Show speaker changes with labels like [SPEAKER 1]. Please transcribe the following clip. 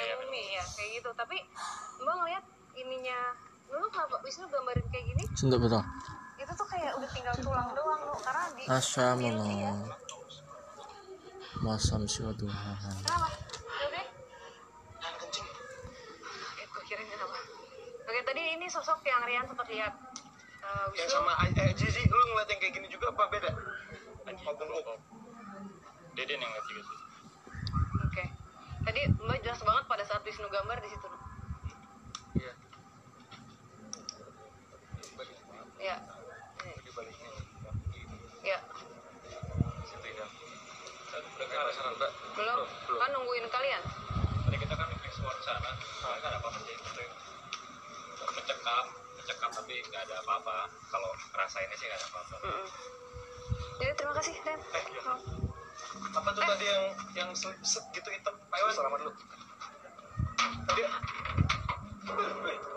[SPEAKER 1] gini ya kayak gitu tapi mbak ngeliat ininya lu kenapa Wisnu gambarin kayak gini
[SPEAKER 2] Sunduk betul.
[SPEAKER 1] itu tuh kayak udah tinggal tulang doang lu karena di ya.
[SPEAKER 2] Asyamullah. Masam siwa Tuhan.
[SPEAKER 1] kenapa oke eh gue kirain kenapa oke tadi ini sosok yang Rian sempat lihat Eh,
[SPEAKER 3] yang
[SPEAKER 1] Wisnu
[SPEAKER 3] sama eh, Zizi lu ngeliat yang kayak gini juga apa beda Apa-
[SPEAKER 4] Deden yang ngerti gitu.
[SPEAKER 1] oke tadi mbak jelas banget pada saat Wisnu gambar di situ ya
[SPEAKER 3] iya di baliknya
[SPEAKER 1] ya
[SPEAKER 3] situ ya udah ke arah sana mbak
[SPEAKER 1] belum
[SPEAKER 3] belum
[SPEAKER 1] kan nungguin kalian
[SPEAKER 4] Tadi kita kan explore ke sana, soalnya nggak ada apa-apa jadi kita mencekam, mencekam tapi nggak ada apa-apa. Kalau rasainnya sih nggak ada apa-apa.
[SPEAKER 1] Mm-mm. jadi terima kasih Rian
[SPEAKER 3] eh iya apa tuh tadi yang yang set, set gitu hitam Pak Iwan selamat lu tadi